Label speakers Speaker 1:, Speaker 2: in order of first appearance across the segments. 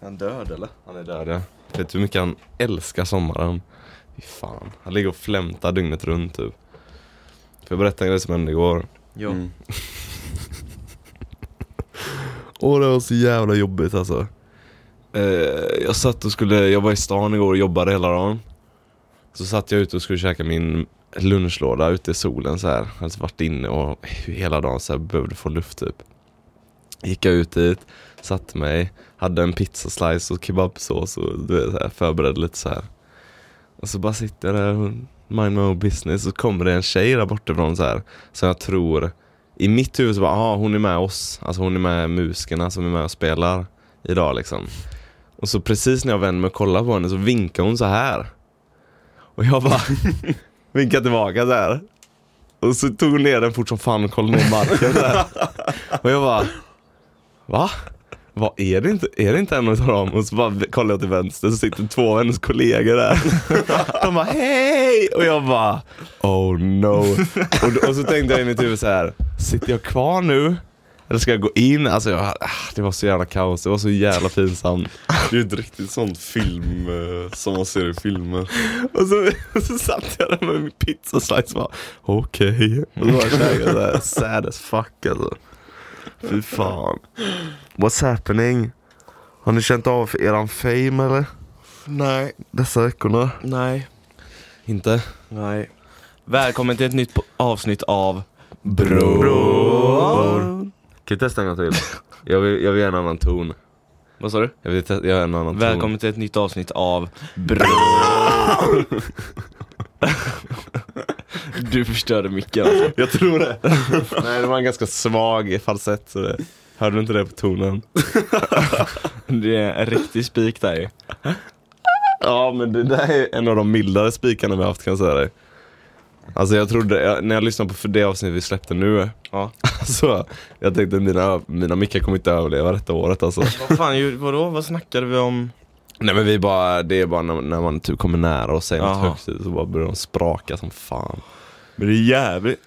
Speaker 1: Han död eller? Han är död ja. Vet du hur mycket han älskar sommaren? Fy fan. Han ligger och flämtar dygnet runt typ. Får jag berätta en grej som hände igår?
Speaker 2: Jo.
Speaker 3: Mm.
Speaker 1: Åh det var så jävla jobbigt alltså. Eh, jag satt och skulle, jag var i stan igår och jobbade hela dagen. Så satt jag ute och skulle käka min lunchlåda ute i solen så här. Jag hade varit inne och hela dagen så här, behövde få luft typ. Gick jag ut dit, satte mig, hade en pizzaslice och kebabsås och du vet, så här, förberedde lite så här. Och så bara sitter jag där och mind my own business och så kommer det en tjej där bortifrån så här. Som jag tror i mitt huvud så bara, aha, hon är med oss. Alltså hon är med musikerna som är med och spelar idag liksom. Och så precis när jag vänder mig och kollar på henne så vinkar hon så här. Och jag bara vinkar tillbaka så här. Och så tog hon ner den fort som fan och kollade ner marken så här. Och jag bara, va? Vad är det inte, är det inte en utav dem? Och så bara kollar jag till vänster så sitter två av hennes kollegor där. De bara hej! Och jag bara oh no. Och, då- och så tänkte jag i mitt huvud så här. sitter jag kvar nu? Eller ska jag gå in? Alltså jag, ah, det var så jävla kaos, det var så jävla pinsamt.
Speaker 3: Det är ett riktigt sånt film eh, som man ser i filmer.
Speaker 1: Och så, och så satt jag där med min pizzaslice och bara okej. Och så bara käkade så här, sad as fuck alltså. Fy fan. What's happening? Har ni känt av eran fame eller?
Speaker 2: Nej.
Speaker 1: Dessa veckorna?
Speaker 2: Nej.
Speaker 1: Inte.
Speaker 2: Nej. Välkommen till ett nytt po- avsnitt av
Speaker 1: Bror. Kan vi testa en gång till? Jag vill, jag vill göra en annan ton.
Speaker 2: Vad sa du?
Speaker 1: Jag vill testa, göra en annan ton.
Speaker 2: Välkommen till ett nytt avsnitt av Bror. du förstörde micken alltså.
Speaker 1: Jag tror det. Nej, det var en ganska svag falsett. Så det, hörde du inte det på tonen?
Speaker 2: Det är en riktig spik där ju.
Speaker 1: Ja, men det där är en av de mildare spikarna vi har haft kan jag säga dig. Alltså jag trodde, jag, när jag lyssnade på för det avsnitt vi släppte nu,
Speaker 2: Ja.
Speaker 1: alltså, jag tänkte mina, mina mickar kommer inte överleva detta året alltså.
Speaker 2: Vad fan, ju- vadå? Vad snackade vi om?
Speaker 1: Nej men vi bara, det är bara när, när man typ kommer nära och säger något
Speaker 2: Jaha.
Speaker 1: högt så bara börjar de spraka som fan.
Speaker 3: Men det är jävligt...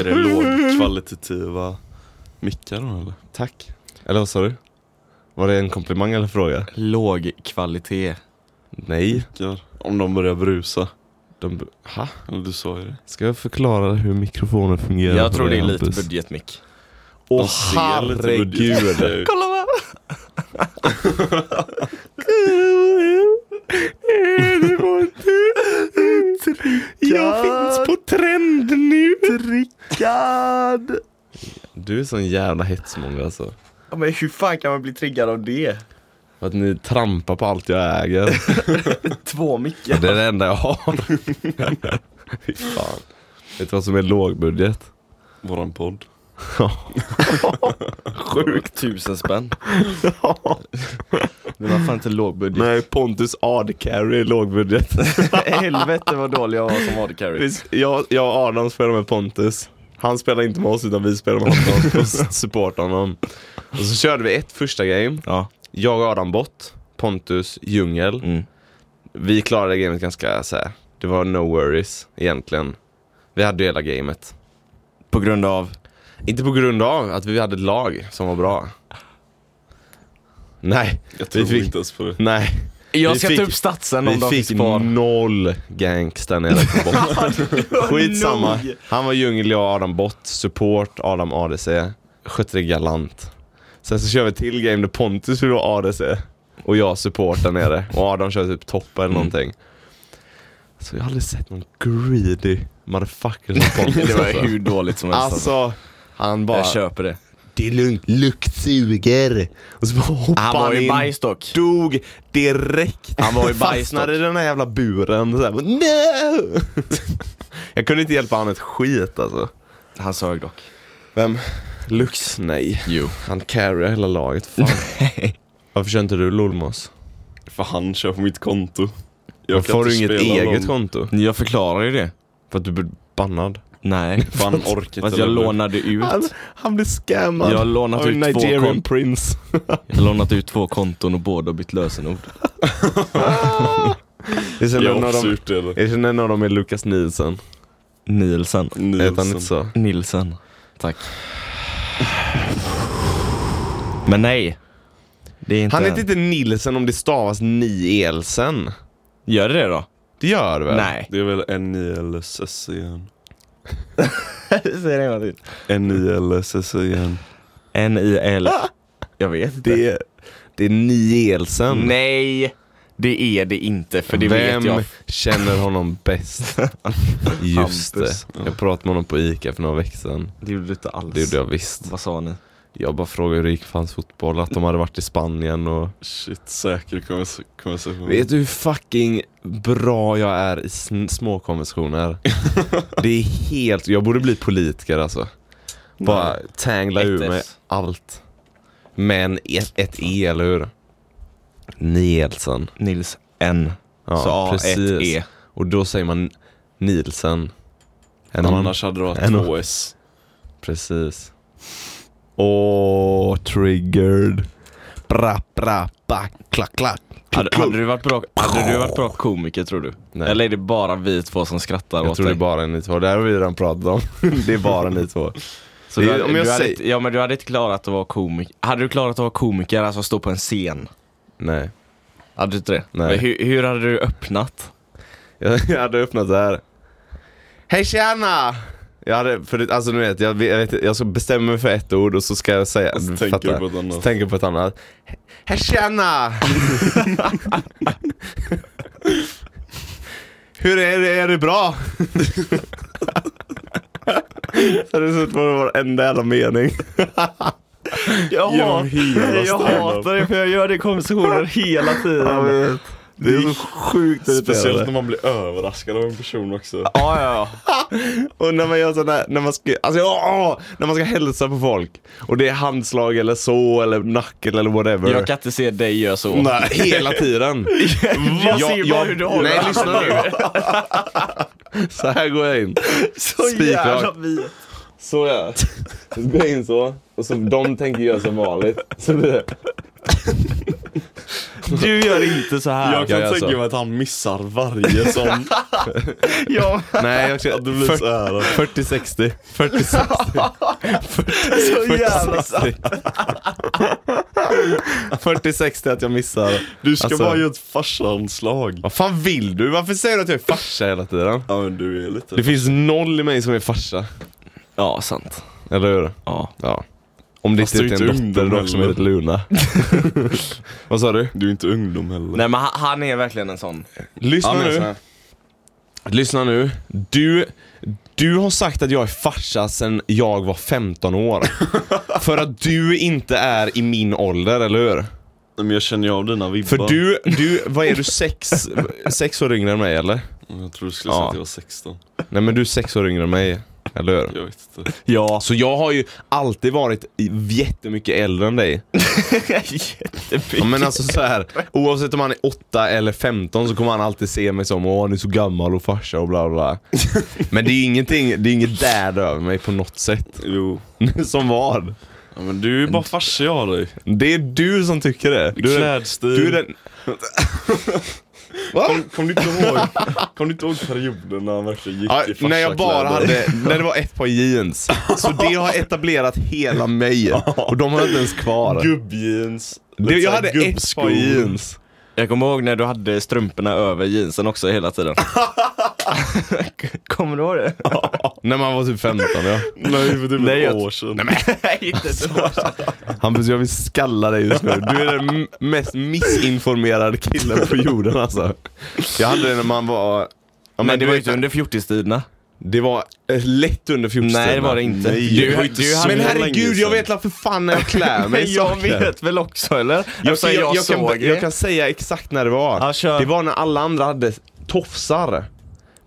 Speaker 3: Är det lågkvalitativa mickar då eller?
Speaker 1: Tack. Eller vad sa du? Var det en komplimang eller fråga?
Speaker 2: Låg kvalitet.
Speaker 1: Nej.
Speaker 3: Mickar. Om de börjar brusa.
Speaker 1: De, ha?
Speaker 3: Eller du sa ju det.
Speaker 1: Ska jag förklara hur mikrofonen fungerar?
Speaker 2: Jag tror
Speaker 1: för
Speaker 2: det
Speaker 1: dig,
Speaker 2: är lite
Speaker 1: Hampus?
Speaker 2: budgetmick.
Speaker 1: Åh
Speaker 3: ser lite
Speaker 1: herregud!
Speaker 3: budget-
Speaker 2: Kolla vad...
Speaker 1: Jag finns på trend nu! Rickard! Du är sån jävla hetsmånga alltså.
Speaker 2: Ja, men hur fan kan man bli triggad av det?
Speaker 1: För att ni trampar på allt jag äger.
Speaker 2: Två mickar.
Speaker 1: Det är det enda jag har. Fy fan. Vet du vad som är lågbudget?
Speaker 3: Våran podd.
Speaker 2: Sjukt. Tusen spänn. Men vad fan inte lågbudget?
Speaker 1: Nej, Pontus Ardcarry är lågbudget.
Speaker 2: Helvete vad dålig jag var som AD carry.
Speaker 1: Visst, jag, jag och Adam spelar med Pontus. Han spelar inte med oss utan vi spelar med honom och supportar honom. Och så körde vi ett första game.
Speaker 2: Ja.
Speaker 1: Jag och Adam bort, Pontus djungel.
Speaker 2: Mm.
Speaker 1: Vi klarade gamet ganska så här. Det var no worries egentligen. Vi hade ju hela gamet.
Speaker 2: På grund av?
Speaker 1: Inte på grund av att vi hade ett lag som var bra. Nej,
Speaker 3: Jag
Speaker 1: vi
Speaker 3: tror
Speaker 1: fick,
Speaker 3: inte ens på det.
Speaker 1: nej,
Speaker 2: Jag
Speaker 1: Vi
Speaker 2: ska
Speaker 1: fick-
Speaker 2: ta upp statsen om de
Speaker 1: vi
Speaker 2: finns
Speaker 1: fick
Speaker 2: kvar.
Speaker 1: noll ganks där nere på botten. Skitsamma.
Speaker 2: Nog.
Speaker 1: Han var djungel, jag Adam Bott, support, Adam ADC. Skötte det galant. Sen så kör vi till game där Pontus vill vara ADC. Och jag support där nere. Och Adam kör typ toppa
Speaker 2: Mm.
Speaker 1: eller någonting. Så jag har aldrig sett någon greedy motherfucker som Pontus.
Speaker 2: Det var
Speaker 1: alltså.
Speaker 2: hur dåligt som helst. Alltså,
Speaker 1: Alltså, han bara...
Speaker 2: jag köper det.
Speaker 1: Det är lugnt, lukt suger. Och så bara hoppade
Speaker 2: Han var
Speaker 1: han
Speaker 2: ju
Speaker 1: in.
Speaker 2: bajs dock.
Speaker 1: Dog direkt.
Speaker 2: Han var ju bajs
Speaker 1: Fastnade i den här jävla buren. Så här, no! Jag kunde inte hjälpa han ett skit alltså.
Speaker 2: Han sög dock.
Speaker 1: Vem? Lux? Nej.
Speaker 2: Jo.
Speaker 1: Han carryar hela laget. Fan. Varför kör inte du Lolmos?
Speaker 3: För han kör på mitt konto.
Speaker 1: Varför
Speaker 3: kan
Speaker 1: har du
Speaker 3: inte
Speaker 1: inget
Speaker 3: spela
Speaker 1: eget
Speaker 3: någon-
Speaker 1: konto?
Speaker 2: Jag förklarar ju det.
Speaker 1: För att du blir bannad.
Speaker 2: Nej.
Speaker 3: För han orkar
Speaker 2: Fast
Speaker 3: inte
Speaker 2: jag
Speaker 3: lämna ut.
Speaker 2: lånade ut.
Speaker 1: han blir scammad.
Speaker 2: Jag har lånat
Speaker 1: av en
Speaker 2: ut två
Speaker 1: Nigerian
Speaker 2: konton.
Speaker 1: prince.
Speaker 2: Jag har lånat ut två konton och båda har bytt lösenord.
Speaker 1: Det är sen
Speaker 3: Jag
Speaker 1: en
Speaker 3: har
Speaker 1: av
Speaker 3: också
Speaker 1: dem,
Speaker 3: gjort det. eller?
Speaker 1: det är sen en av dem är Lukas Nielsen.
Speaker 2: Nielsen.
Speaker 1: Heter han
Speaker 3: Nielsen.
Speaker 1: inte så?
Speaker 2: Nilsen. Tack. Men nej. Det är inte
Speaker 1: Han
Speaker 2: en-
Speaker 1: heter inte Nilsen om det stavas Nielsen.
Speaker 2: Gör det det då?
Speaker 1: Det gör det väl?
Speaker 2: Nej.
Speaker 3: Det är väl NILSS igen.
Speaker 2: Säg det en gång till.
Speaker 3: NILSS igen.
Speaker 2: N-I-L. Ah! Jag vet inte.
Speaker 1: Det är, det är Nielsen.
Speaker 2: Nej, det är det inte för det
Speaker 1: Vem
Speaker 2: vet jag.
Speaker 1: känner honom bäst? Just
Speaker 2: Hampus.
Speaker 1: det. Jag pratade med honom på Ica för några veckor sedan.
Speaker 2: Det gjorde du inte alls.
Speaker 1: Det gjorde jag visst.
Speaker 2: Vad sa ni?
Speaker 1: Jag bara frågade hur det gick för hans fotboll, att de hade varit i Spanien och...
Speaker 3: Shit, säker konvers- konversation.
Speaker 1: Mm. Vet du hur fucking bra jag är i sn- små konversationer? det är helt... Jag borde bli politiker alltså. Bara tangla ur
Speaker 2: Ett
Speaker 1: mig
Speaker 2: S.
Speaker 1: allt. Men ett, ett E, eller hur? Nielsen.
Speaker 2: Nils N.
Speaker 1: Ja,
Speaker 2: så A, ett
Speaker 1: precis.
Speaker 2: E.
Speaker 1: Och då säger man Nielsen. En
Speaker 2: Mm.
Speaker 3: Annars hade det varit
Speaker 1: En och-
Speaker 3: två S.
Speaker 1: Precis. Åh, triggered. Bra, bra, ba, klack, klack.
Speaker 2: Hade, hade, du varit bra, hade du varit bra komiker tror du?
Speaker 1: Nej.
Speaker 2: Eller är det bara vi två som skrattar
Speaker 1: Jag
Speaker 2: åt
Speaker 1: tror det
Speaker 2: dig?
Speaker 1: är bara ni två. Det här har vi redan pratat om. det är bara ni två.
Speaker 2: Så
Speaker 1: Det
Speaker 2: du,
Speaker 1: är-
Speaker 2: hade-
Speaker 1: om jag
Speaker 2: du hade,
Speaker 1: säger-
Speaker 2: inte- Ja men du hade inte klarat att vara komiker. Hade du klarat att vara komiker, alltså stå på en scen?
Speaker 1: Nej.
Speaker 2: Hade du inte det?
Speaker 1: Nej.
Speaker 2: Men Hur, hur hade du öppnat?
Speaker 1: Jag, jag hade öppnat det här. Hej tjena! Jag hade, för det, alltså nu vet jag, vet- jag, vet, jag ska bestämma mig för ett ord och så ska jag säga,
Speaker 3: Och så
Speaker 1: du
Speaker 3: tänker
Speaker 1: fattar.
Speaker 3: du på ett annat.
Speaker 1: Så tänker jag på ett annat. He- Hej tjena! Hur är det, är det bra? så hade det suttit på varenda jävla mening.
Speaker 2: Jag,
Speaker 3: Genom hela standup.
Speaker 2: det för jag gör det i konversationer hela tiden.
Speaker 1: Det är så sjukt
Speaker 3: Speciellt när man blir överraskad av en person också.
Speaker 2: Ja, ja, ja.
Speaker 1: Och när man gör sådär, när man ska, alltså, åh, när man ska hälsa på folk och det är handslag eller så eller nacken eller whatever.
Speaker 2: Jag kan inte se dig göra så.
Speaker 1: Nej, hela tiden.
Speaker 2: Jag ser bara hur du håller
Speaker 1: Nej,
Speaker 2: handen
Speaker 1: lyssna nu. så här går jag in.
Speaker 2: Så
Speaker 1: jävla
Speaker 2: vit.
Speaker 1: Så gör jag. Så går jag in så. Och så de tänker göra som vanligt. Så blir det.
Speaker 2: Du gör inte så här.
Speaker 3: Jag kan
Speaker 1: jag gör
Speaker 3: tänka
Speaker 1: så.
Speaker 3: mig att han missar varje sån.
Speaker 2: Ja,
Speaker 1: Nej, jag ska...
Speaker 3: Att det blir så här.
Speaker 1: 40-60. 40-60.
Speaker 2: så
Speaker 1: 40-60. 40-60 att jag missar.
Speaker 3: Du ska
Speaker 1: Alltså-
Speaker 3: bara göra ett farsanslag.
Speaker 1: Vad fan vill du? Varför säger du att jag är farsa hela tiden?
Speaker 3: Ja men du är lite...
Speaker 1: Det finns noll i mig som är farsa.
Speaker 2: Ja, sant.
Speaker 1: Eller hur?
Speaker 2: Ja.
Speaker 1: Ja. Om det
Speaker 3: Fast du är
Speaker 1: inte är en
Speaker 3: inte
Speaker 1: dotter
Speaker 3: ungdom
Speaker 1: dock som heter Luna. Vad sa du?
Speaker 3: Du är inte ungdom heller.
Speaker 2: Nej men han- han är verkligen en sån.
Speaker 1: Lyssna
Speaker 2: Han är en sån
Speaker 1: nu.
Speaker 2: här.
Speaker 1: Lyssna nu. Du, du har sagt att jag är farsa sedan jag var 15 år. För att du inte är i min ålder, eller hur?
Speaker 3: Men jag känner ju av dina vibbar.
Speaker 1: För du, du, vad är du, sex, sex år yngre än mig eller?
Speaker 3: Mm, Jag tror du skulle säga
Speaker 1: Ja.
Speaker 3: att jag var 16.
Speaker 1: Nej men du är sex år yngre än mig, eller hur?
Speaker 3: Jag vet inte.
Speaker 1: Ja. Så jag har ju alltid varit i- jättemycket äldre än dig. Ja,
Speaker 2: Jättepig.
Speaker 1: men alltså så här, oavsett om han är 8 eller 15 så kommer han alltid se mig som åh han är så gammal och farsa och bla bla. bla." Men det är ju ingenting, det är inget dad över mig på något sätt.
Speaker 3: Jo.
Speaker 1: Som vad?
Speaker 3: Ja, men du är bara farsa jag har dig.
Speaker 1: Det är du som tycker det. Du är den,
Speaker 3: Klädstil.
Speaker 1: du är den,
Speaker 3: Kom, kom, du inte ihåg, kom du inte ihåg perioden när han verkligen gick
Speaker 1: ja,
Speaker 3: i farsa
Speaker 1: när jag bara hade, när det var ett par jeans. Så det har etablerat hela mig. Och de har jag inte ens kvar.
Speaker 3: Gubbjeans.
Speaker 1: Det,
Speaker 3: lite
Speaker 1: jag
Speaker 3: så här
Speaker 1: hade ett
Speaker 3: gubbskor.
Speaker 1: par jeans.
Speaker 2: Jag kommer ihåg när du hade strumporna över jeansen också hela tiden. kommer du ihåg det?
Speaker 1: När man var typ 15 ja.
Speaker 3: Nej för typ
Speaker 2: Nej,
Speaker 3: ett
Speaker 2: jag-
Speaker 3: år sedan.
Speaker 2: Nej, inte så.
Speaker 1: Hampus jag vill skalla dig just nu. Du är den m- mest missinformerade killen på jorden alltså. Jag hade det när man var... Ja, men
Speaker 2: Men det var ju
Speaker 1: vet-
Speaker 2: inte under 40-stiderna.
Speaker 1: Det var eh, lätt under 40
Speaker 2: Nej, det var det inte.
Speaker 3: Nej,
Speaker 2: Du-
Speaker 3: det var inte
Speaker 2: du
Speaker 3: så
Speaker 2: hade-
Speaker 1: Men
Speaker 3: länge
Speaker 1: herregud, jag
Speaker 3: sedan.
Speaker 1: vet la för fan när jag klär mig
Speaker 2: Men
Speaker 1: i
Speaker 2: jag
Speaker 1: saker.
Speaker 2: vet väl också eller?
Speaker 1: Jag,
Speaker 2: Eftersom
Speaker 1: jag, jag, kan,
Speaker 2: såg det.
Speaker 1: jag kan säga exakt när det var.
Speaker 2: Ja, kör.
Speaker 1: Det var när alla andra hade tofsar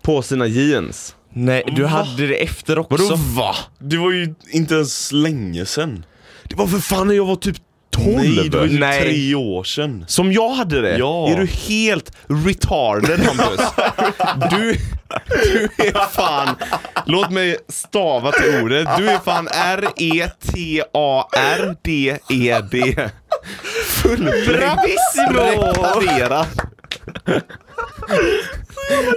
Speaker 1: på sina jeans.
Speaker 2: Nej, du hade det efter också.
Speaker 1: va?
Speaker 3: Det var ju inte ens länge sedan.
Speaker 1: Det var för fan när jag var typ 12.
Speaker 3: Nej, det var ju typ
Speaker 2: Nej.
Speaker 3: tre år sedan.
Speaker 1: Som jag hade det?
Speaker 3: Ja.
Speaker 1: Är du helt retarded Hampus? Du, du är fan, låt mig stava till ordet. Du är fan E R-E-T-A-R-D-E-D. Fullbränd.
Speaker 2: Bravissimo!
Speaker 1: Retardera.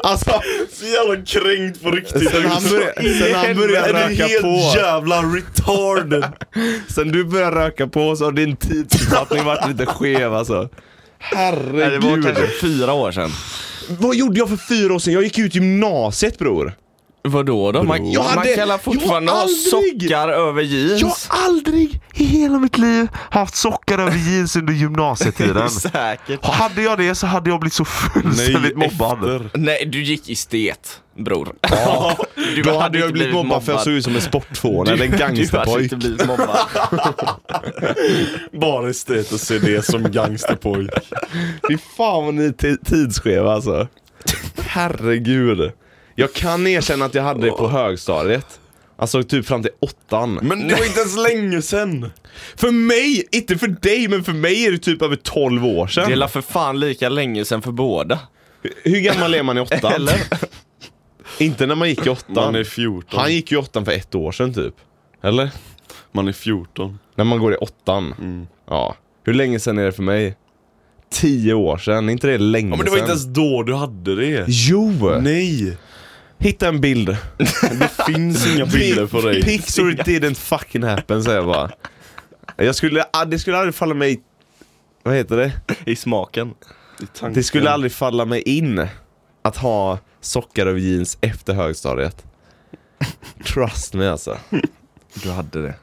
Speaker 1: Alltså,
Speaker 3: Så jävla kränkt på riktigt.
Speaker 1: Sen han började- sen han började
Speaker 3: Är du
Speaker 1: röka
Speaker 3: helt
Speaker 1: på.
Speaker 3: jävla retarded?
Speaker 1: sen du började röka på så har din tidsuppfattning varit lite skev alltså.
Speaker 2: Nej, det
Speaker 1: Herregud.
Speaker 2: var kanske fyra år sedan.
Speaker 1: Vad gjorde jag för fyra år sedan? Jag gick ut gymnasiet bror.
Speaker 2: Vadå då? Man,
Speaker 1: Jag
Speaker 2: man
Speaker 1: hade-
Speaker 2: kallar fortfarande
Speaker 1: jag
Speaker 2: ha
Speaker 1: aldrig-
Speaker 2: sockar över jeans.
Speaker 4: Jag har aldrig i hela mitt liv haft sockar över jeans under gymnasietiden.
Speaker 2: Säkert.
Speaker 4: Hade jag det så hade jag blivit så fullständigt mobbad.
Speaker 3: efter.
Speaker 2: Nej, du gick estet, bror. du
Speaker 1: Då hade jag blivit mobbad för jag såg ut som en sportfåne eller en
Speaker 2: Du hade
Speaker 1: gangsterpojk.
Speaker 2: inte blivit mobbad.
Speaker 3: Bara estet och se det som gangsterpojk.
Speaker 1: Fy fan vad ni är ti- tidsskeva alltså. Herregud. Jag kan erkänna att jag hade det på högstadiet. Alltså typ fram till åttan.
Speaker 3: Men det var inte ens länge sen.
Speaker 1: För mig, inte för dig, men för mig är det typ över 12 år
Speaker 2: Det är
Speaker 1: sedan.
Speaker 2: la för fan lika länge sedan för båda.
Speaker 1: Hur gammal är man i åttan?
Speaker 2: Eller?
Speaker 1: Inte när man gick i
Speaker 3: Man är
Speaker 1: åttan.
Speaker 3: 14.
Speaker 1: Han gick i åttan för ett år sedan typ. Eller?
Speaker 3: Man är Mm. 14.
Speaker 1: När man går i åttan. Ja. Hur länge sedan är det för mig? Tio år sedan, är inte det länge
Speaker 3: Ja, men det var inte
Speaker 1: sedan?
Speaker 3: ens då du hade det.
Speaker 1: Jo!
Speaker 3: Nej.
Speaker 1: Hitta en bild.
Speaker 3: Det finns inga bilder på dig.
Speaker 1: Picture didn't fucking happen säger jag bara. Jag skulle, ah, det skulle aldrig falla mig... Vad heter det?
Speaker 2: I smaken.
Speaker 3: I tanken.
Speaker 1: Det skulle aldrig falla mig in att ha sockar över jeans efter högstadiet. Trust me alltså.
Speaker 2: Du hade det.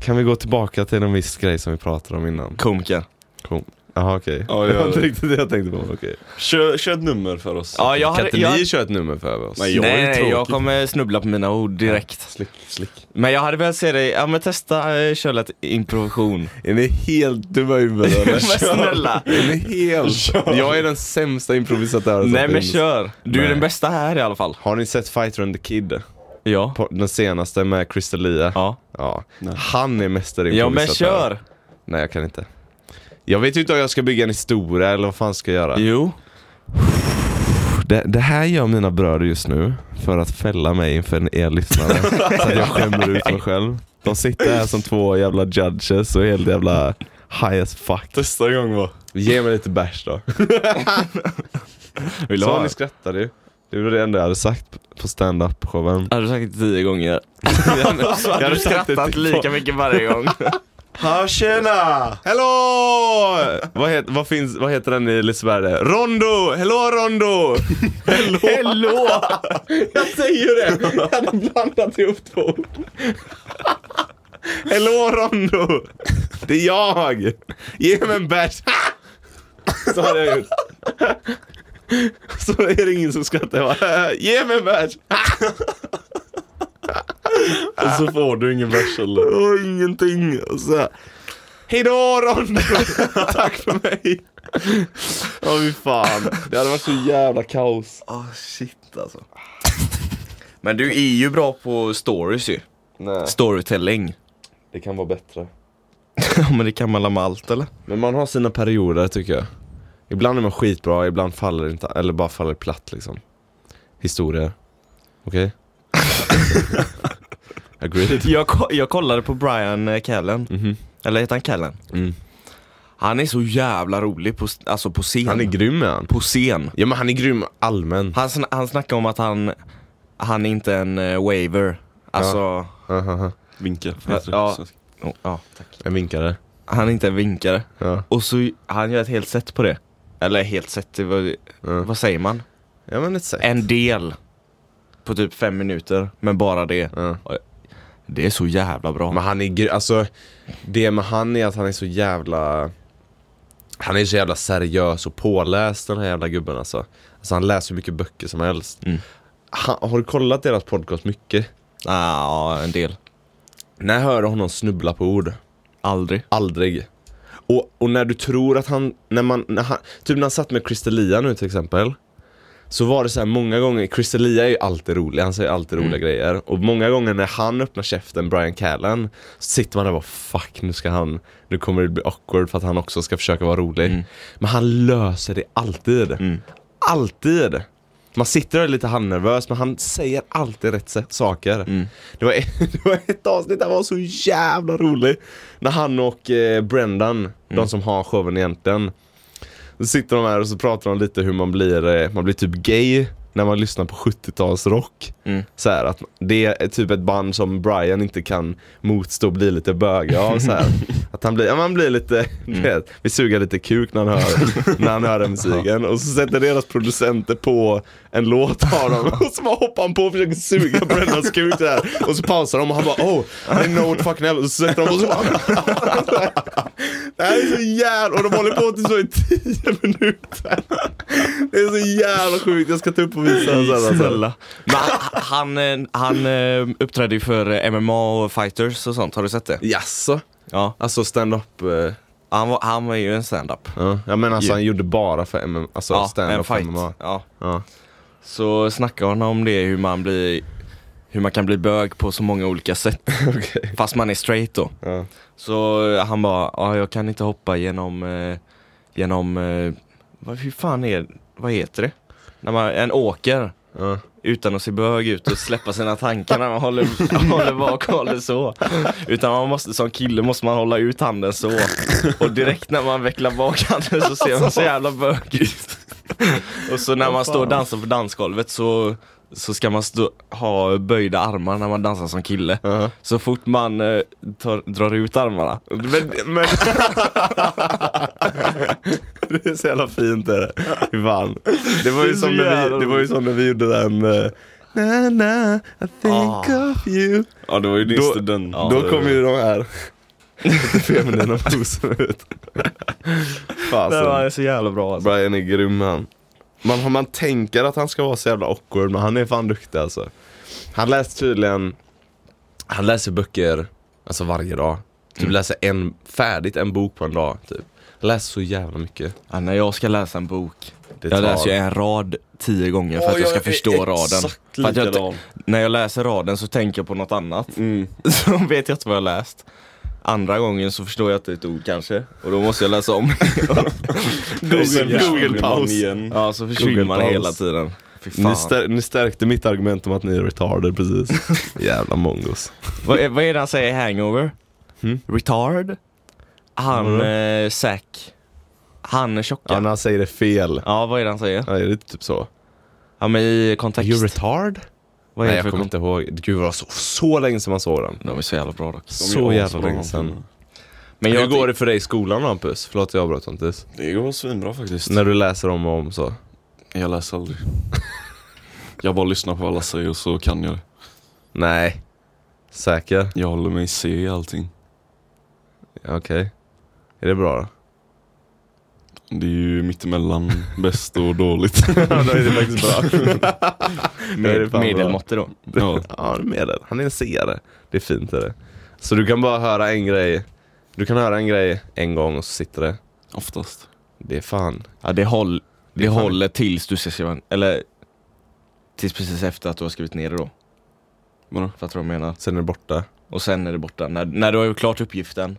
Speaker 1: Kan vi gå tillbaka till en viss grej som vi pratade om innan?
Speaker 2: Komiker.
Speaker 1: Kom. Jaha okej.
Speaker 3: Ja,
Speaker 1: Det var
Speaker 3: ja,
Speaker 1: inte
Speaker 3: ja.
Speaker 1: riktigt det jag tänkte på. Okay.
Speaker 3: Kör, kör ett nummer för oss.
Speaker 2: Ja, jag
Speaker 1: Kan
Speaker 2: hade,
Speaker 1: inte
Speaker 2: jag,
Speaker 1: ni köra ett nummer för oss?
Speaker 3: Nej, jag är
Speaker 2: nej, nej, jag
Speaker 3: tråkig.
Speaker 2: kommer snubbla på mina ord direkt.
Speaker 1: Slick, slick.
Speaker 2: Men jag hade velat se dig, ja men testa eh, köra lite improvisation.
Speaker 1: Är ni helt dumma i huvudet
Speaker 2: men
Speaker 1: eller?
Speaker 2: snälla.
Speaker 1: Är ni helt... Jag är den sämsta improvisatören som
Speaker 2: Nej men
Speaker 1: finns.
Speaker 2: kör. Du är
Speaker 1: Nej.
Speaker 2: den bästa här i alla fall.
Speaker 1: Har ni sett Fighter and the Kid?
Speaker 2: Ja.
Speaker 1: På- Den senaste med Chris D'Elia?
Speaker 2: Ja.
Speaker 1: Ja. Han är mästare i
Speaker 2: Ja men
Speaker 1: improvisatör.
Speaker 2: kör.
Speaker 1: Nej jag kan inte. Jag vet ju inte om jag ska bygga en historia eller vad fan ska jag göra.
Speaker 2: Jo.
Speaker 1: Det, det här gör mina bröder just nu för att fälla mig inför er lyssnare. så att jag skämmer ut mig själv. De sitter här som två jävla judges och är helt jävla high as fuck.
Speaker 3: Nästa gång va?
Speaker 1: Ge mig lite bärs då.
Speaker 2: Vill du
Speaker 1: Så
Speaker 2: ha?
Speaker 1: ni skrattade ju. Det var det enda jag hade sagt på stand-up showen.
Speaker 2: Hade du sagt det tio gånger?
Speaker 1: Jag
Speaker 2: Jag hade skrattat lika mycket varje gång.
Speaker 3: Ha tjena!
Speaker 1: Hello! Vad, het, vad, finns, vad heter den i Liseberg? Rondo! Hello Rondo! Hello! Hello! jag säger ju det! Jag hade blandat ihop två ord. Hello Rondo! Det är jag! Ge mig en bärs! Så hade jag gjort. Så är det ingen som skrattar. Jag bara, Ge mig en bärs!
Speaker 3: Och så får du ingen vers eller?
Speaker 1: och ingenting. Och så här, Hejdå Ron! Tack för mig! Ja fy fan. Det hade varit så jävla kaos.
Speaker 2: Oh, shit alltså. Men du är ju bra på stories ju.
Speaker 1: Nej,
Speaker 2: Storytelling.
Speaker 1: det kan vara bättre.
Speaker 2: Ja men det kan man la med allt eller?
Speaker 1: Men man har sina perioder tycker jag. Ibland är man skitbra, ibland faller det inte, eller bara faller platt liksom. Historier. Okej? Agreed.
Speaker 2: Jag, ko- jag kollade på Brian eh, Callen.
Speaker 1: Mhm.
Speaker 2: Eller heter han Callen?
Speaker 1: Mm.
Speaker 2: Han är så jävla rolig på, s- alltså på scen.
Speaker 1: Han är grym är han.
Speaker 2: på scen.
Speaker 1: Ja men han är grym allmän.
Speaker 2: Han, sn- han snackar om att han, han är inte en uh, waiver. Alltså, ja.
Speaker 1: Aha,
Speaker 3: Vinka.
Speaker 2: Ja. ja, tack.
Speaker 1: En vinkare.
Speaker 2: Han är inte en vinkare.
Speaker 1: Ja.
Speaker 2: Och så han gör ett helt set på det. Eller helt set, det var, vad säger man?
Speaker 1: ja men ett sätt.
Speaker 2: Mm. En del. På typ fem minuter, men bara det.
Speaker 1: Ja.
Speaker 2: Det är så jävla bra.
Speaker 1: Men han är gr- alltså det med han är att han är så jävla han är så jävla seriös och påläst den här jävla gubben alltså. Alltså han läser hur mycket böcker som helst.
Speaker 2: Mm.
Speaker 1: Ha- har du kollat deras podcast mycket?
Speaker 2: Ja, en del.
Speaker 1: När jag hörde honom snubbla på ord?
Speaker 2: Aldrig.
Speaker 1: Aldrig. Och, och när du tror att han, när man, när han, typ när han satt med Christelia nu till exempel. Så var det så här många gånger, Christelia är ju alltid rolig, han säger alltid roliga grejer. Och många gånger när han öppnar käften, Brian Callen, så sitter man där och bara fuck nu ska han, nu kommer det bli awkward för att han också ska försöka vara rolig. Men han löser det alltid. Alltid! Man sitter där lite halvnervös men han säger alltid rätt sä- saker. Det, var ett, det var ett avsnitt där var så jävla rolig. När han och eh, Brendan, de som har showen egentligen. Så sitter de här och så pratar de lite hur man blir, eh, man blir typ gay när man lyssnar på 70-talsrock.
Speaker 2: Mm.
Speaker 1: Så här, att det är typ ett band som Brian inte kan motstå och bli lite bög av. Så här. Att han blir, ja, man blir lite, du vet, vi suger lite kuk när han hör, när han hör den musiken. Och så sätter deras producenter på en låt av dem och så bara hoppar han på och försöker suga på deras kuk så här. Och så pausar de och han bara oh, I know what fucking hell. Och så sätter de på och så bara, Det här är så jävla, och de håller på till så i tio minuter. Det är så jävla sjukt, jag ska ta upp och visa den sen. Alltså.
Speaker 2: Snälla. Men han, han, eh, han eh, uppträdde ju för eh, MMA och fighters och sånt, har du sett det?
Speaker 1: Jaså?
Speaker 2: Ja.
Speaker 1: Alltså stand-up? eh,
Speaker 2: Han var, han var ju en stand-up.
Speaker 1: Ja, jag menar alltså han gjorde bara för MMA, alltså
Speaker 2: Ja, en
Speaker 1: stand-up
Speaker 2: fight.
Speaker 1: MMA.
Speaker 2: Ja.
Speaker 1: Ja.
Speaker 2: Så snackar han om det, hur man blir hur man kan bli bög på så många olika sätt,
Speaker 1: Okej.
Speaker 2: fast man är straight då.
Speaker 1: Ja.
Speaker 2: Så eh, han bara, ja jag kan inte hoppa genom, eh, genom, eh, vad, hur fan är, vad heter det? När man, en åker.
Speaker 1: Ja.
Speaker 2: Utan att se bög ut och släppa sina tankar när man håller, håller bak och håller så. Utan man måste, som kille måste man hålla ut handen så. Och direkt när man vecklar bak handen så ser man så jävla bög ut. Och så när man står och dansar på dansgolvet så, så ska man stå, ha böjda armar när man dansar som kille.
Speaker 1: Ja.
Speaker 2: Så fort man eh, tar, drar ut armarna. Men, men,
Speaker 1: Det är så jävla fint är det. Fy fan. Det var
Speaker 2: Det är
Speaker 1: ju
Speaker 2: så
Speaker 1: som när
Speaker 2: jävla
Speaker 1: vi, det var ju
Speaker 2: roligt.
Speaker 1: som när vi gjorde den eh, Na na, I think
Speaker 2: Ah.
Speaker 1: of you.
Speaker 3: Ja det var ju
Speaker 1: Då-
Speaker 3: just den.
Speaker 1: Då kommer ju de här lite feminina posen ut. Fasen.
Speaker 2: så jävla bra alltså.
Speaker 1: Brian är grym han. Man, man tänker att han ska vara så jävla awkward men han är fan duktig alltså. Han läser tydligen, han läser böcker alltså varje dag. Typ läser en, färdigt en bok på en dag typ. Han läser så jävla mycket.
Speaker 2: Ja, när jag ska läsa en bok,
Speaker 1: Det
Speaker 2: jag
Speaker 1: tar-
Speaker 2: läser ju en rad tio gånger för att jag ska förstå raden.
Speaker 3: Exakt
Speaker 2: För att jag,
Speaker 3: likadan.
Speaker 2: inte- när jag läser raden så tänker jag på något annat.
Speaker 3: Mm.
Speaker 2: Så vet jag inte vad jag läst. Andra gången så förstår jag inte ett ord kanske och då måste jag läsa om.
Speaker 1: Google- Google-paus.
Speaker 3: Igen.
Speaker 2: ja, så försvinner
Speaker 1: Google
Speaker 2: man
Speaker 1: paus.
Speaker 2: hela tiden. Fy
Speaker 1: Ni,
Speaker 2: fan.
Speaker 1: stär, ni stärkte mitt argument om att ni är retarded precis. Jävla mongos.
Speaker 2: Vad, är, vad är det han säger i Hangover?
Speaker 1: Hmm?
Speaker 2: Retard? Han,
Speaker 1: Mm.
Speaker 2: eh, Zack. Han är tjocka.
Speaker 1: Ja,
Speaker 2: Ja,
Speaker 1: när han säger det fel.
Speaker 2: vad är det han säger?
Speaker 1: Ja, är det typ så?
Speaker 2: Ja men i kontext.
Speaker 1: You retard?
Speaker 2: vad är
Speaker 1: Nej
Speaker 2: det
Speaker 1: jag
Speaker 2: för
Speaker 1: kommer
Speaker 2: kontext?
Speaker 1: inte ihåg. Gud det var så, så länge sedan man såg den.
Speaker 2: De är så jävla bra dock.
Speaker 1: Så
Speaker 3: är
Speaker 1: jävla
Speaker 3: asbra,
Speaker 1: länge sedan.
Speaker 3: de
Speaker 2: Men
Speaker 1: Hur
Speaker 2: jag
Speaker 1: går det för dig i skolan Hampus? Förlåt att jag avbröt Hampus.
Speaker 3: Det går svinbra faktiskt.
Speaker 1: När du läser om och om så.
Speaker 3: Jag läser aldrig. jag bara lyssnar på vad alla säger och så kan jag det.
Speaker 1: Nej. Säker?
Speaker 3: Jag håller mig i C i allting.
Speaker 1: Okej. Är det bra då?
Speaker 3: Det är ju mittemellan bäst och dåligt.
Speaker 1: Ja, då är det faktiskt bra. det är fan
Speaker 2: med,
Speaker 1: bra.
Speaker 2: medelmåttig då.
Speaker 3: ja.
Speaker 1: ja, det är medel. Han är en seare. Det är fint är det. Så du kan bara höra en grej. Du kan höra en grej en gång och så sitter det.
Speaker 3: Oftast.
Speaker 1: Det är fan.
Speaker 2: Ja det, håll, det
Speaker 1: fan-
Speaker 2: håller tills du ska skriva, eller tills precis efter att du har skrivit ner det då.
Speaker 3: Vadå?
Speaker 2: Fattar du vad jag menar?
Speaker 1: Sen är det borta.
Speaker 2: Och sen är det borta. När, när du har gjort klart uppgiften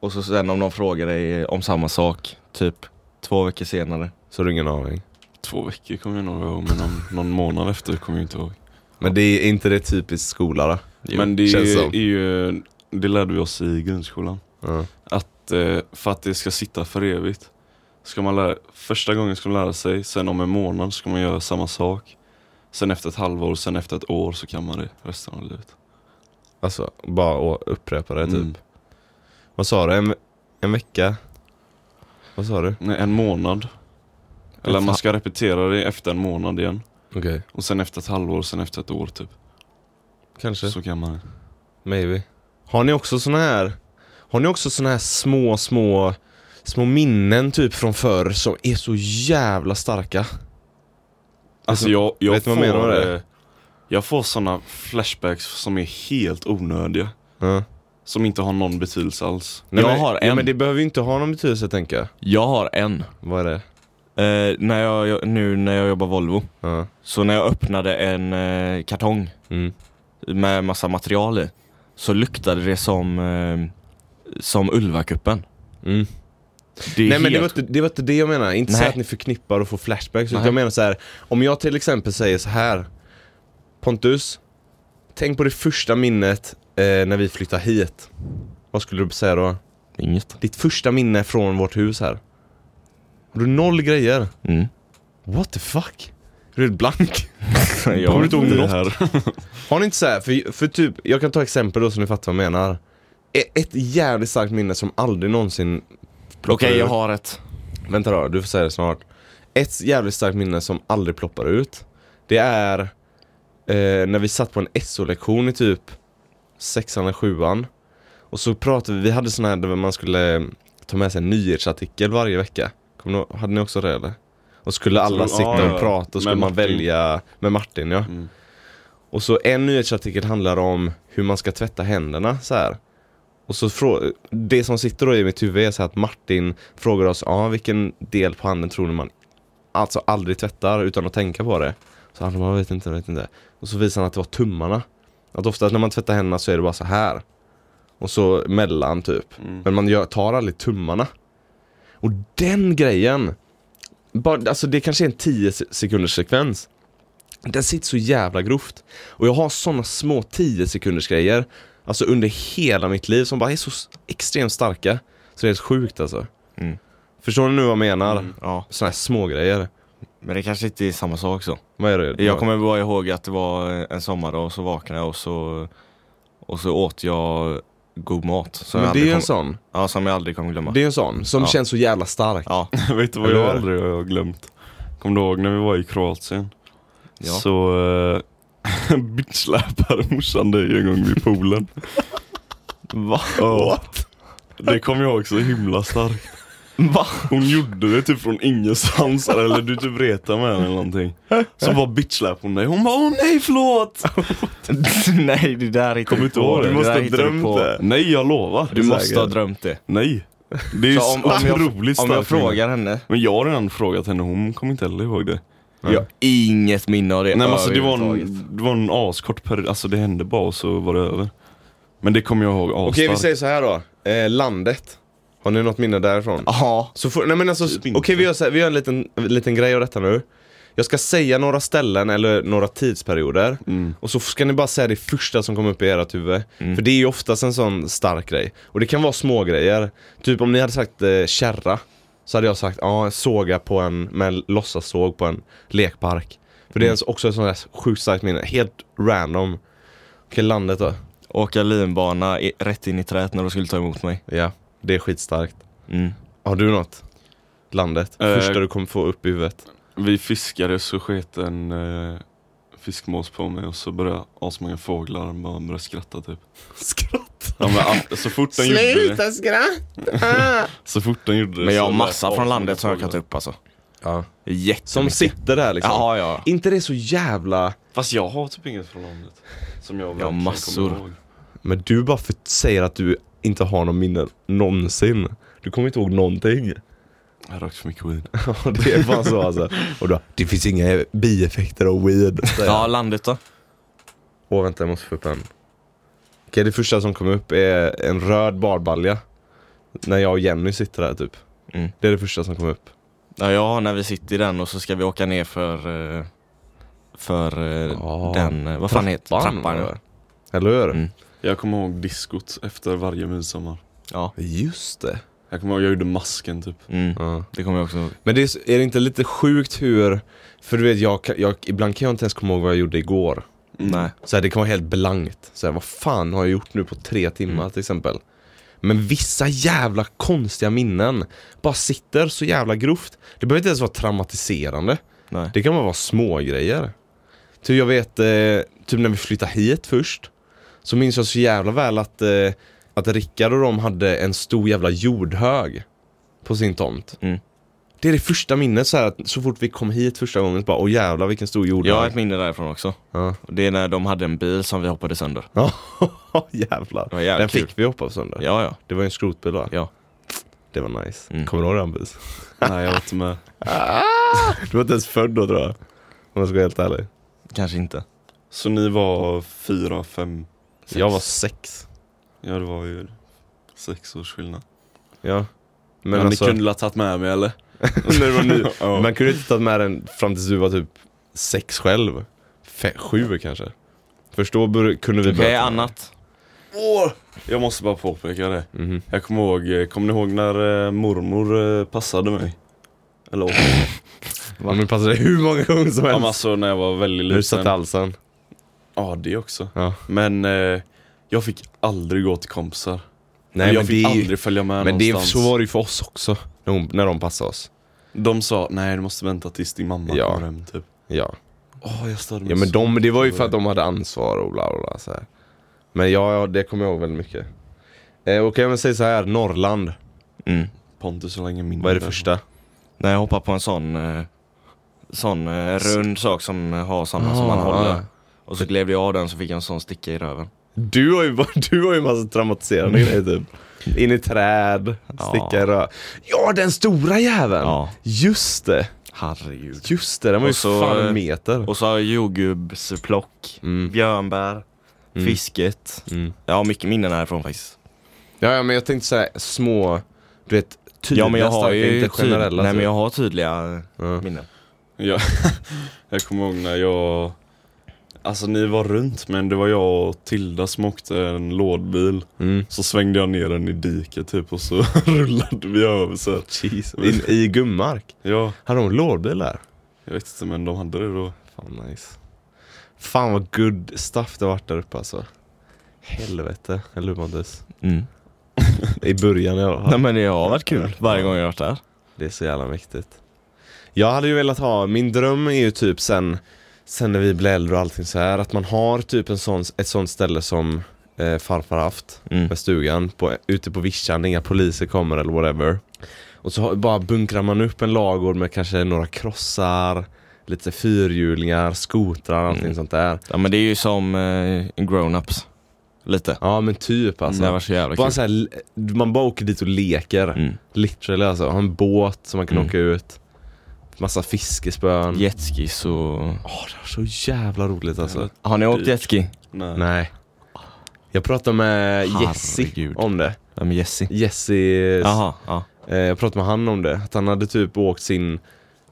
Speaker 2: och så sen om någon frågar dig om samma sak, typ två veckor senare.
Speaker 1: Så har du ingen aning.
Speaker 3: Två veckor kommer jag nog ihåg, men om någon månad efter kommer jag inte ihåg.
Speaker 1: Men det är inte det typiskt skola då?
Speaker 3: men det
Speaker 1: känns som.
Speaker 3: är, ju, det lärde vi oss i grundskolan.
Speaker 1: Ja.
Speaker 3: Att eh, för att det ska sitta för evigt. Ska man lära, första gången ska man lära sig, sen om en månad ska man göra samma sak. Sen efter ett halvår, sen efter ett år så kan man det resten av livet.
Speaker 1: Alltså, bara att upprepa det typ.
Speaker 3: Mm.
Speaker 1: Vad sa du? En, en vecka? Vad sa du?
Speaker 3: Nej, en månad. Eller
Speaker 1: Fan.
Speaker 3: man ska repetera det efter en månad igen.
Speaker 1: Okej.
Speaker 3: Och sen efter ett halvår, sen efter ett år typ.
Speaker 1: Kanske.
Speaker 3: Så kan man det.
Speaker 1: Maybe. Har ni också såna här Har ni också såna här små, små Små minnen typ från förr som är så jävla starka?
Speaker 3: Alltså jag, jag
Speaker 1: vet du
Speaker 3: får,
Speaker 1: vad jag menar med det?
Speaker 3: eh, Jag får sådana flashbacks som är helt onödiga.
Speaker 1: Ja.
Speaker 3: Som inte har någon betydelse alls.
Speaker 1: Nej,
Speaker 2: Jag
Speaker 1: men,
Speaker 2: har
Speaker 1: Ja,
Speaker 2: en.
Speaker 1: men det behöver ju inte ha någon betydelse tänker jag.
Speaker 2: Jag har en.
Speaker 1: Vad är det?
Speaker 2: Eh, när jag, jag, nu när jag jobbar Volvo,
Speaker 1: Ja.
Speaker 2: så när jag öppnade en eh, kartong
Speaker 1: Mm.
Speaker 2: med massa material i, så luktade det som, eh, som Ulvakuppen.
Speaker 1: Mm.
Speaker 2: Det är
Speaker 1: Nej men det var,
Speaker 2: helt
Speaker 1: inte, det var inte det jag menar. Inte så
Speaker 2: Nej.
Speaker 1: att ni förknippar och får flashbacks. Utan
Speaker 2: Nej.
Speaker 1: jag menar så här. om jag till exempel säger så här Pontus, tänk på det första minnet eh, när vi flyttade hit. Vad skulle du säga då?
Speaker 2: inget.
Speaker 1: Ditt första minne från vårt hus här. Har du noll grejer?
Speaker 2: Mm.
Speaker 1: What the fuck? Du är helt blank.
Speaker 2: Jag
Speaker 1: Kommer du inte ihåg
Speaker 3: Det
Speaker 1: något?
Speaker 3: här.
Speaker 1: Har ni inte så här, för, för typ, jag kan ta exempel då så ni fattar vad jag menar. E- Ett jävligt starkt minne som aldrig någonsin ploppar
Speaker 2: Okej, jag
Speaker 1: ut.
Speaker 2: har ett.
Speaker 1: Vänta då, du får säga det snart. Ett jävligt starkt minne som aldrig ploppar ut. Det är eh, när vi satt på en SO-lektion i typ sexan eller sjuan. Och så pratade vi, vi hade sådana här där man skulle eh, ta med sig en nyhetsartikel varje vecka. Kommer ni, ihåg- hade ni också det eller? Och skulle alla
Speaker 3: Så-
Speaker 1: sitta
Speaker 3: ja,
Speaker 1: och
Speaker 3: ja.
Speaker 1: prata och skulle
Speaker 3: Med
Speaker 1: man
Speaker 3: Martin.
Speaker 1: välja med Martin ja.
Speaker 3: Mm.
Speaker 1: Och så en nyhetsartikel handlar om hur man ska tvätta händerna så här. Och så frå- det som sitter då i mitt huvud är så här att Martin frågar oss, ja ah, vilken del på handen tror ni man alltså aldrig tvättar utan att tänka på det? Så han bara, jag vet inte, jag vet inte. Och så visar han att det var tummarna. Att ofta när man tvättar händerna så är det bara så här. Och så mellan typ.
Speaker 3: Mm.
Speaker 1: Men man gör, tar aldrig tummarna. Och den grejen. Bara, alltså det kanske är en 10 se- sekunders sekvens. Den sitter så jävla grovt. Och jag har såna små 10 sekunders grejer. Alltså under hela mitt liv som bara är så s- extremt starka. Så det är helt sjukt alltså.
Speaker 2: Mm.
Speaker 1: Förstår ni nu vad jag menar?
Speaker 3: Mm.
Speaker 2: Ja,
Speaker 1: Såna här små grejer.
Speaker 2: men det kanske inte är samma sak så.
Speaker 1: Vad är det?
Speaker 2: Jag kommer bara ihåg att det var en sommardag och så vaknade jag och så, och så åt jag god mat. Som,
Speaker 1: Men
Speaker 2: jag
Speaker 1: det är ju
Speaker 2: aldrig
Speaker 1: en
Speaker 2: kom,
Speaker 1: sån.
Speaker 2: ja, som jag aldrig kommer glömma.
Speaker 1: Det är en sån som
Speaker 2: Ja.
Speaker 1: känns så jävla stark.
Speaker 2: Ja,
Speaker 3: Vet du vad
Speaker 1: Eller
Speaker 3: jag
Speaker 1: hur?
Speaker 3: aldrig har glömt? Kommer du ihåg när vi var i Kroatien?
Speaker 2: Ja.
Speaker 3: Så uh, bitchsläpade morsan dig en gång vid poolen.
Speaker 2: Va?
Speaker 3: What? Det kommer jag ihåg så himla starkt.
Speaker 2: Va?
Speaker 3: Hon gjorde det typ från ingenstans eller du typ retade med henne eller någonting. Så bara bitchsläpade hon dig. Hon bara åh nej förlåt!
Speaker 2: Nej, det där hittar
Speaker 3: Kommer inte ihåg det?
Speaker 2: det.
Speaker 3: Du måste
Speaker 2: där
Speaker 3: ha
Speaker 2: hittar
Speaker 3: drömt
Speaker 2: på.
Speaker 3: det. Nej jag lovar.
Speaker 2: Du måste ha
Speaker 3: Säkert.
Speaker 2: drömt det.
Speaker 3: Nej. Det är ju
Speaker 2: Så
Speaker 3: så
Speaker 2: om- om jag-
Speaker 3: otroligt
Speaker 2: Om jag
Speaker 3: starkt minne.
Speaker 2: frågar henne.
Speaker 3: Men jag har redan frågat henne, hon kommer inte heller ihåg det.
Speaker 1: Nej.
Speaker 2: Jag har inget minne av det
Speaker 3: Nej men alltså det var
Speaker 2: överhuvudtaget.
Speaker 3: en, det var en askort period, alltså det hände bara och så var det över. Men det kommer jag ihåg asstarkt.
Speaker 1: Okej vi säger så här då. Eh, landet. Har ni något minne därifrån?
Speaker 2: Ja,
Speaker 1: Så får, nej men alltså,
Speaker 3: Typ
Speaker 1: okej
Speaker 3: inte.
Speaker 1: vi gör, så här, vi gör en liten, liten grej av detta nu. Jag ska säga några ställen eller några tidsperioder.
Speaker 3: Mm.
Speaker 1: Och så ska ni bara säga det första som kommer upp i ert huvud.
Speaker 2: Mm.
Speaker 1: För det är ju oftast en sån stark grej. Och det kan vara små grejer. Typ om ni hade sagt eh, kärra. Så hade jag sagt, ja såga på en, med en låtsassåg på en lekpark. För det
Speaker 2: Mm.
Speaker 1: är ens- också ett sånt där sjukt starkt minne. Helt random. Okej landet då.
Speaker 2: åka linbana i, rätt in i träet när du skulle ta emot mig.
Speaker 1: Ja, det är skitstarkt.
Speaker 2: Mm.
Speaker 1: Har du något? Landet?
Speaker 3: Eh,
Speaker 1: Första du kommer få upp i huvudet.
Speaker 3: Vi fiskade så sket en eh, fiskmås på mig och så började asmånga fåglar och bara började skratta typ. Skratta? Ja, men, all- så fort den gjorde det,
Speaker 1: skratta!
Speaker 3: så fort den gjorde det
Speaker 2: Men jag har
Speaker 3: så
Speaker 2: massa
Speaker 3: lät
Speaker 2: från
Speaker 3: asmånga
Speaker 2: landet som jag kan ta
Speaker 3: fåglar.
Speaker 2: upp alltså.
Speaker 1: ja.
Speaker 2: Jättemycket.
Speaker 1: Som sitter där liksom.
Speaker 2: Ja, ja.
Speaker 1: Inte det så jävla...
Speaker 3: Fast jag har typ inget från landet. Som jag verkligen
Speaker 2: har massor.
Speaker 3: kommer ihåg.
Speaker 1: Men du bara för- säger att du inte har någon minnen någonsin. Du kommer inte ihåg någonting.
Speaker 3: Jag har rökt för mycket weed.
Speaker 1: Och det är bara så alltså. Och då, det finns inga bieffekter av weed. säger
Speaker 2: Ja,
Speaker 1: jag.
Speaker 2: landet då?
Speaker 1: Åh vänta, jag måste få upp en. Okej, det första som kommer upp är en röd badbalja. När jag och Jenny sitter där typ.
Speaker 2: Mm.
Speaker 1: Det är det första som kommer upp.
Speaker 2: Ja, ja, när vi sitter i den och så ska vi åka ner för eh, för eh,
Speaker 1: Ja.
Speaker 2: den, eh, vad fan heter det? Trappan? ja.
Speaker 1: eller? Eller hur?
Speaker 2: Mm.
Speaker 3: Jag kommer ihåg diskot efter varje midsommar.
Speaker 2: Ja,
Speaker 1: Just det.
Speaker 3: Jag kommer ihåg jag gjorde masken typ.
Speaker 2: mm.
Speaker 1: Ja.
Speaker 2: det kommer jag också ihåg.
Speaker 1: Men det är, s- är det inte lite sjukt hur, för du vet jag, kan- jag, ibland kan jag inte ens komma ihåg vad jag gjorde igår.
Speaker 2: Nej.
Speaker 1: Så här, det kan vara helt blankt. Så här, vad fan har jag gjort nu på tre timmar
Speaker 2: Mm.
Speaker 1: till exempel? Men vissa jävla konstiga minnen bara sitter så jävla grovt. Det behöver inte ens vara traumatiserande.
Speaker 2: Nej.
Speaker 1: Det kan bara vara små grejer. Typ jag vet, eh, typ när vi flyttade hit först. Så minns jag så jävla väl att, eh, att Rickard och de hade en stor jävla jordhög på sin tomt.
Speaker 2: Mm.
Speaker 1: Det är det första minnet så här att så fort vi kom hit första gången så bara åh jävlar vilken stor
Speaker 2: Jag har ett
Speaker 1: jordhög.
Speaker 2: minne därifrån också.
Speaker 1: Ja.
Speaker 2: Och Det är när de hade en bil som vi hoppade sönder.
Speaker 1: Ja, jävlar.
Speaker 2: Det var jävligt
Speaker 1: Den
Speaker 2: kul.
Speaker 1: fick vi hoppa sönder.
Speaker 2: Ja, ja.
Speaker 1: Det var ju en skrotbil va?
Speaker 2: Ja.
Speaker 1: Det var nice.
Speaker 2: Mm.
Speaker 1: Kommer du ihåg den Bus?
Speaker 3: Nej jag var inte med.
Speaker 1: Du var inte ens född då tror jag. Om jag ska vara helt ärlig.
Speaker 2: Kanske inte.
Speaker 3: Så ni var fyra, fem? sex.
Speaker 1: Jag var sex.
Speaker 3: Ja det var ju sex års skillnad.
Speaker 1: Ja. Men
Speaker 3: Men,
Speaker 1: alltså,
Speaker 3: ni kunde ha tagit med mig eller?
Speaker 1: när det var ny,
Speaker 3: Ja.
Speaker 1: Man kunde inte ta med den fram tills du var typ sex själv. Fe, sju kanske. Förstå bör, kunde vi
Speaker 2: Okej,
Speaker 1: börja.
Speaker 2: annat.
Speaker 3: Jag måste bara påpeka det.
Speaker 1: Mhm.
Speaker 3: Jag kommer ihåg, eh, kommer ni ihåg när eh, mormor eh, passade mig? Eller åt mig?
Speaker 1: Man vill passa dig hur många gånger som
Speaker 3: Ja, men
Speaker 1: helst.
Speaker 3: alltså när jag var väldigt
Speaker 1: Du satt i
Speaker 3: liten.
Speaker 1: halsen.
Speaker 3: Ja, det också.
Speaker 1: Ja.
Speaker 3: Men eh, jag fick aldrig gå till kompisar.
Speaker 1: Nej,
Speaker 3: jag
Speaker 1: men
Speaker 3: fick
Speaker 1: det är ju-
Speaker 3: aldrig följa med
Speaker 1: Men det, är-
Speaker 3: någonstans.
Speaker 1: så var det ju för oss också. När, hon, när de passade oss.
Speaker 3: De sa, nej du måste vänta tills din mamma
Speaker 1: Ja.
Speaker 3: kommer hem typ.
Speaker 1: Ja.
Speaker 3: Åh, jag störde mig
Speaker 1: ja men
Speaker 3: så
Speaker 1: de, det var ju
Speaker 3: på
Speaker 1: för att de hade ansvar och bla bla, bla så här. Men ja, ja, det kommer jag ihåg väldigt mycket. Eh, Okej, men säg så här. Norrland.
Speaker 2: Mm.
Speaker 3: Pontus så länge mindre.
Speaker 1: Vad är det första?
Speaker 2: När jag hoppar på en sån eh, Sån eh, rund sak som har såna som man
Speaker 1: Ah.
Speaker 2: håller Och så gled jag av den så fick jag en sån sticka i röven
Speaker 1: Du har ju, du har ju massa traumatiserande
Speaker 2: Mm.
Speaker 1: grejer typ. In i träd, sticka i rö. Ja, den stora jäveln!
Speaker 2: Ja.
Speaker 1: Just det,
Speaker 2: Herregud
Speaker 1: just det. Den var ju
Speaker 2: Och så,
Speaker 1: fan
Speaker 2: eh,
Speaker 1: en meter.
Speaker 2: Och så har jag jordgubbsplock,
Speaker 1: Mm.
Speaker 2: björnbär,
Speaker 1: Mm.
Speaker 2: fisket
Speaker 1: Mm.
Speaker 2: Jag har mycket minnen härifrån faktiskt
Speaker 1: Ja, ja, men jag tänkte säga små, du vet, tydliga
Speaker 2: Ja men jag har
Speaker 1: starka,
Speaker 2: ju
Speaker 1: inte generella.
Speaker 2: tydliga, nej,
Speaker 1: typ.
Speaker 2: men jag har tydliga
Speaker 1: Ja.
Speaker 2: minnen
Speaker 3: Ja, jag kommer ihåg när jag... Alltså ni var runt men det var jag och Tilda som åkte en lådbil.
Speaker 1: Mm.
Speaker 3: Så svängde jag ner den i diket typ och så rullade vi över så här.
Speaker 1: In, I Gummark.
Speaker 3: Ja,
Speaker 1: Hade de lådbil där?
Speaker 3: jag vet inte men de hade det då.
Speaker 1: Fan nice. Fan vad good stuff det varit där uppe alltså. Helvete, eller hur Pontus?
Speaker 2: mm.
Speaker 1: I början i alla fall.
Speaker 2: Nej men det har varit kul varje gång jag har varit där
Speaker 1: Det är så jävla mäktigt. Jag hade ju velat ha, min dröm är ju typ sen, sen när vi blir äldre och allting så här att man har typ en sån, ett sånt ställe som eh, farfar haft
Speaker 2: mm.
Speaker 1: med stugan, på, ute på vischan, inga poliser kommer eller whatever. Och så har- bara bunkrar man upp en lagård med kanske några krossar, lite fyrhjulingar, skotrar, allting
Speaker 2: Mm.
Speaker 1: sånt där.
Speaker 2: Ja men det är ju som eh, grown-ups Lite
Speaker 1: Ja men typ alltså.
Speaker 2: Mm, Det här var så jävla
Speaker 1: Bara
Speaker 2: kul
Speaker 1: så här, man bara åker dit och leker.
Speaker 2: mm.
Speaker 1: Literally alltså. Ha en båt som man kan
Speaker 2: Mm.
Speaker 1: åka ut. Massa fiskespön.
Speaker 2: Jetskis och...
Speaker 1: Åh, det var så jävla roligt alltså.
Speaker 3: Jävligt.
Speaker 2: Har ni åkt jetski?
Speaker 3: Nej.
Speaker 1: Nej. Jag pratade med Jesse
Speaker 2: Herregud.
Speaker 1: om det.
Speaker 2: Vem är Jesse?
Speaker 1: Jesse,
Speaker 2: Jaha, ja.
Speaker 1: eh, jag pratade med han om det. Att han hade typ åkt sin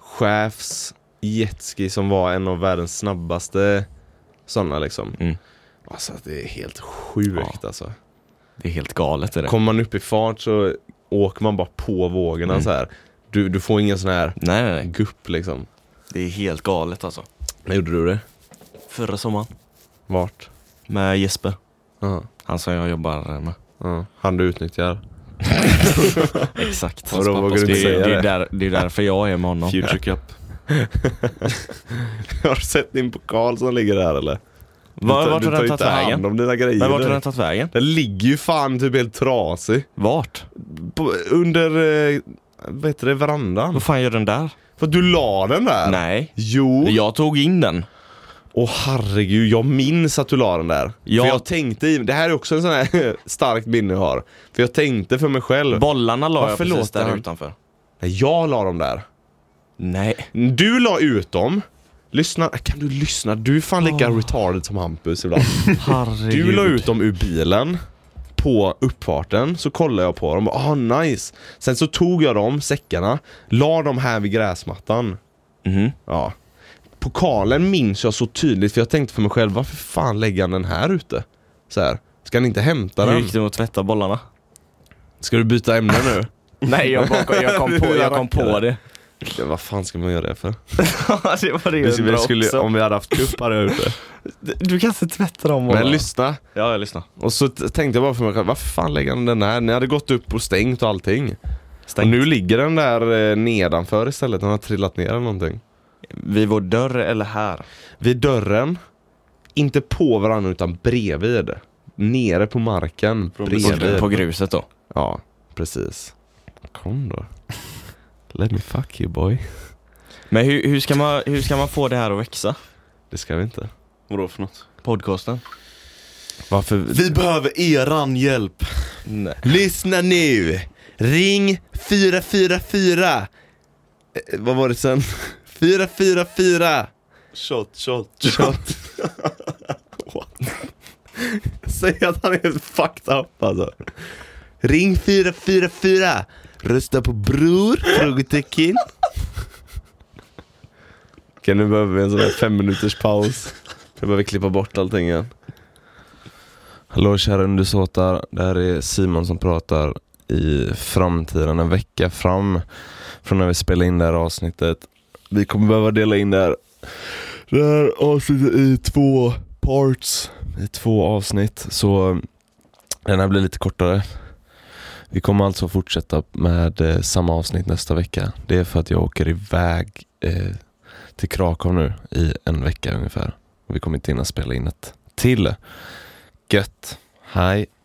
Speaker 1: chefs jetski som var en av världens snabbaste sådana liksom.
Speaker 2: Mm.
Speaker 1: Alltså det är helt sjukt alltså.
Speaker 2: Det är helt galet det där.
Speaker 1: Kommer man upp i fart så åker man bara på vågorna
Speaker 2: Mm.
Speaker 1: så här. Du, du får ingen sån här
Speaker 2: Nej nej nej.
Speaker 1: gupp liksom.
Speaker 2: Det är helt galet alltså.
Speaker 1: När gjorde du det?
Speaker 2: Förra sommaren
Speaker 1: Vart?
Speaker 2: med Jesper.
Speaker 1: Ja.
Speaker 2: Han som jag jobbar med.
Speaker 1: ja. Han du utnyttjar?
Speaker 2: Exakt.
Speaker 1: Vadå,
Speaker 2: Hans
Speaker 1: vågar du
Speaker 2: pappas-
Speaker 1: inte
Speaker 2: det, är-
Speaker 1: säga
Speaker 2: det, är
Speaker 1: det?
Speaker 2: där, det är därför jag är med honom.
Speaker 3: Future Cup.
Speaker 1: har du sett din pokal som ligger där eller?
Speaker 2: Var,
Speaker 1: Du-
Speaker 2: vart
Speaker 1: du
Speaker 2: har den
Speaker 1: ju
Speaker 2: tagit
Speaker 1: inte hand
Speaker 2: vägen?
Speaker 1: om dina grejer.
Speaker 2: Men vart har den tagit vägen?
Speaker 1: Den ligger ju fan typ helt trasig.
Speaker 2: Vart?
Speaker 1: På, under, eh, vad heter det, verandan.
Speaker 2: Vad fan gör den där?
Speaker 1: För att du la den där?
Speaker 2: Nej.
Speaker 1: Jo.
Speaker 2: Jag tog in den.
Speaker 1: Åh herregud, jag minns att du la den där.
Speaker 2: Ja.
Speaker 1: För jag tänkte, i- det här är också en sån här starkt minne jag har. För jag tänkte för mig själv,
Speaker 2: Bollarna la jag
Speaker 1: Varför
Speaker 2: precis
Speaker 1: låter
Speaker 2: där
Speaker 1: han?
Speaker 2: utanför.
Speaker 1: nej jag la dem där.
Speaker 2: Nej.
Speaker 1: Du la ut dem. Lyssna, kan du lyssna? Du är fan lika
Speaker 2: Åh.
Speaker 1: retarded som Hampus ibland.
Speaker 2: Herregud.
Speaker 1: Du la ut dem ur bilen på uppfarten, så kollade jag på dem och ah nice. Sen så tog jag dem, säckarna, la dem här vid gräsmattan.
Speaker 2: Mhm.
Speaker 1: Ja. Pokalen minns jag så tydligt för jag tänkte för mig själv, varför fan lägger han den här ute? Så här. Ska ni inte hämta
Speaker 2: Hur
Speaker 1: den?
Speaker 2: gick det med att tvätta bollarna?
Speaker 1: Ska du byta ämne nu?
Speaker 2: Nej jag, bara, jag kom på, jag kom på det.
Speaker 1: Ja, vad fan ska man göra det för?
Speaker 2: Ja, det var det jag
Speaker 1: Vi
Speaker 2: undrade
Speaker 1: skulle,
Speaker 2: också.
Speaker 1: om vi hade haft cup hade jag gjort det.
Speaker 2: Du kan inte tvätta dem
Speaker 1: Men lyssna.
Speaker 2: Ja, jag lyssnar.
Speaker 1: Och så t- tänkte jag bara för mig själv, varför fan lägger han den här? Ni hade gått upp och stängt och allting. Och nu ligger den där eh, nedanför istället, den har trillat ner eller någonting.
Speaker 2: Vid vår dörr eller här?
Speaker 1: Vid dörren, inte på varandra utan bredvid. Nere på marken,
Speaker 3: Från
Speaker 1: bredvid.
Speaker 2: På gruset då?
Speaker 1: Ja, precis. Kom då. Let me fuck you boy.
Speaker 2: Men hur, hur, ska man, hur ska man få det här att växa?
Speaker 1: Det ska vi inte.
Speaker 3: Vadå för något?
Speaker 2: Podcasten?
Speaker 1: Varför?
Speaker 3: Vi behöver eran hjälp.
Speaker 2: Nej.
Speaker 1: Lyssna nu! Ring 444! Eh, vad var det sen? 444!
Speaker 3: Shot, shot,
Speaker 1: Shot. Säg att han är helt fucked up alltså. Ring 444. Rösta på bror? Frågetecken. Okej, nu behöver vi en sån här fem minuters paus. Jag behöver klippa bort allting igen. Hallå kära undersåtar. Det här är Simon som pratar i framtiden, en vecka fram från när vi spelade in det här avsnittet. Vi kommer behöva dela in det här, det här avsnittet i två parts. I två avsnitt. Så eh, den här blir lite kortare. Vi kommer alltså fortsätta med eh, samma avsnitt nästa vecka. Det är för att jag åker iväg eh, till Krakow nu i en vecka ungefär. Och vi kommer inte hinna spela in ett till. Gött. Hej.